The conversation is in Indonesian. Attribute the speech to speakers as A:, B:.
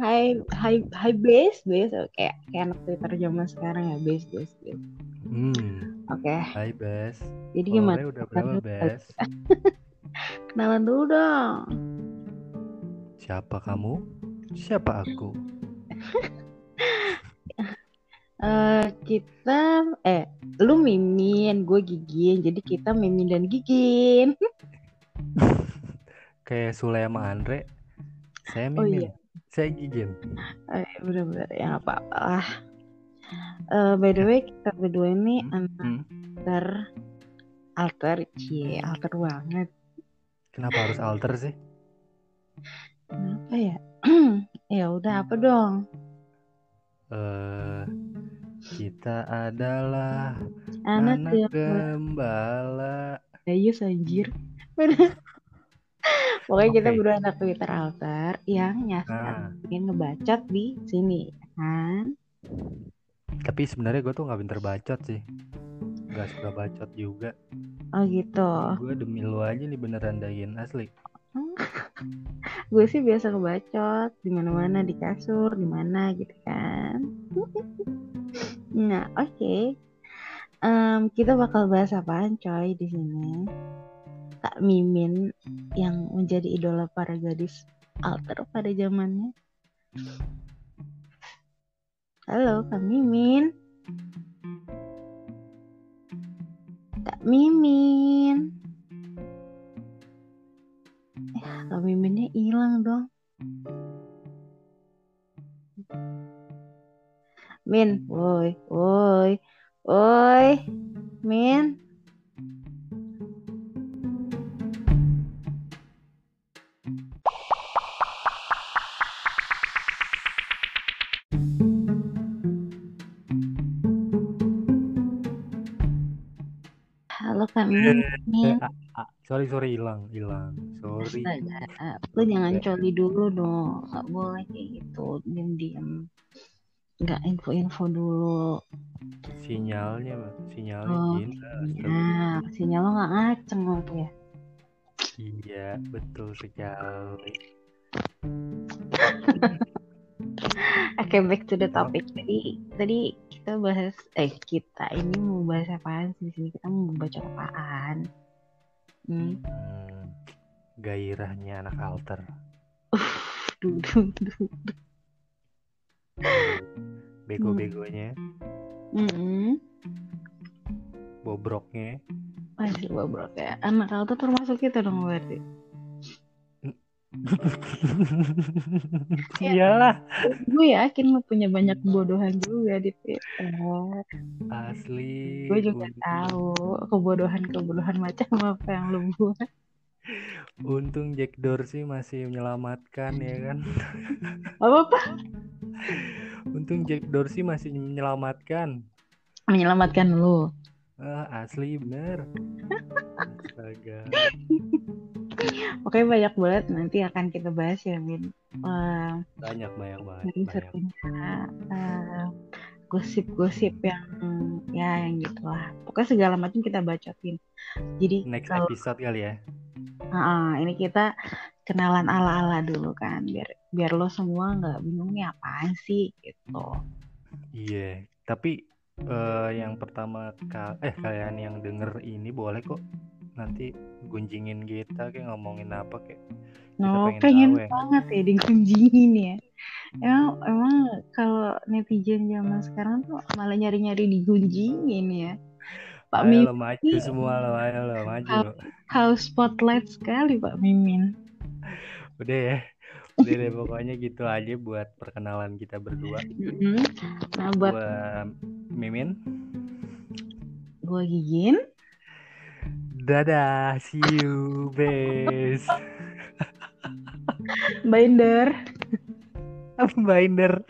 A: High high high base base oke kayak kayak anak Twitter zaman sekarang ya base base base.
B: Hmm.
A: Oke.
B: Hai Bes.
A: Jadi gimana?
B: Followernya udah berapa Bes?
A: Kenalan dulu dong.
B: Siapa kamu? Siapa aku?
A: Eh kita eh lu mimin, gue gigin. Jadi kita mimin dan gigin.
B: Kayak Sule sama Andre. Saya
A: Oh,
B: Mimin.
A: iya.
B: Saya Gigin.
A: Eh, bener-bener ya nggak apa-apa lah. Eh, by the way kita berdua ini anak
B: Hmm.
A: alter alter cie alter banget.
B: Kenapa harus alter sih?
A: Kenapa ya? ya udah apa dong?
B: Eh kita adalah
A: Anak,
B: anak
A: anak
B: gembala.
A: Dayus anjir. Bener. Pokoknya kita
B: Oke.
A: berdua anak Twitter alter yang nyasar
B: Nah,
A: pengen ngebacot di sini ya kan.
B: tapi sebenarnya gue tuh nggak pinter bacot sih. Gak suka bacot juga.
A: Oh gitu.
B: Gue demi lu aja nih beneran dayin asli.
A: Gue sih biasa ngebacot di mana-mana di kasur, di mana gitu kan. nah, oke. Em, kita bakal bahas apaan coy di sini? Kak Mimin yang menjadi idola para gadis alter pada zamannya. Halo, Kak Mimin. Kak Mimin. Eh, Kak Miminnya hilang dong. Min, woi, woi, woi, Min. Halo Kak Mimin.
B: Ah, sorry sorry hilang hilang.
A: Iya,
B: Sorry.
A: Astaga, Ah, lu jangan coli dulu dong, nggak boleh kayak gitu, diam-diam, nggak info-info dulu.
B: Sinyalnya Mbak. sinyalnya
A: Oh,
B: gila. astaga.
A: Nah, sinyal lo nggak ngaceng apa ya?
B: Iya betul sekali.
A: Oke, back to the topic. Tadi, tadi kita bahas, eh kita ini mau bahas apaan sih di sini? Kita mau baca apaan? Hmm,
B: Hmm, gairahnya anak alter.
A: duh, duh, duh.
B: Bego-begonya,
A: Hmm. Mm-mm.
B: bobroknya.
A: Waduh, bobrok ya. Anak alter termasuk kita dong berarti. Iya.
B: Iyalah,
A: Gue yakin lu punya banyak bodohan juga Ya di Twitter.
B: asli.
A: gue Iya, juga
B: Untung-
A: tahu kebodohan-kebodohan macam apa yang lu buat
B: Untung Jack Dorsey masih menyelamatkan ya kan.
A: apa apa
B: Untung Jack Dorsey masih menyelamatkan.
A: menyelamatkan lu
B: Ah, asli bener. Astaga.
A: oke banyak banget nanti akan kita bahas ya Min Eh,
B: Banyak banyak banget.
A: ini
B: Banyak.
A: serunya eh, gosip-gosip yang ya yang gitulah pokoknya segala macam kita bacotin jadi
B: Next
A: kalau
B: episode kali ya.
A: Ah, ini kita kenalan ala-ala dulu kan biar biar lo semua nggak bingung nih apaan sih gitu
B: Iya, tapi eh, yang pertama ka- eh kalian yang denger ini boleh kok nanti gunjingin kita kayak ngomongin apa kayak
A: No, Oh, pengen,
B: pengen tahu ya. Hmm.
A: banget ya dikunjingin ya. Emang, emang kalau netizen zaman sekarang tuh malah nyari-nyari digunjingin ya. Pak
B: ayo
A: Mimin,
B: lo maju semua lo ayo lo maju lo.
A: house spotlight sekali Pak Mimin.
B: udah ya udah deh pokoknya gitu aja buat perkenalan kita berdua
A: Mm-mm. Nah buat
B: Gua Mimin
A: gue gigin,
B: dadah see you bes
A: binder.
B: binder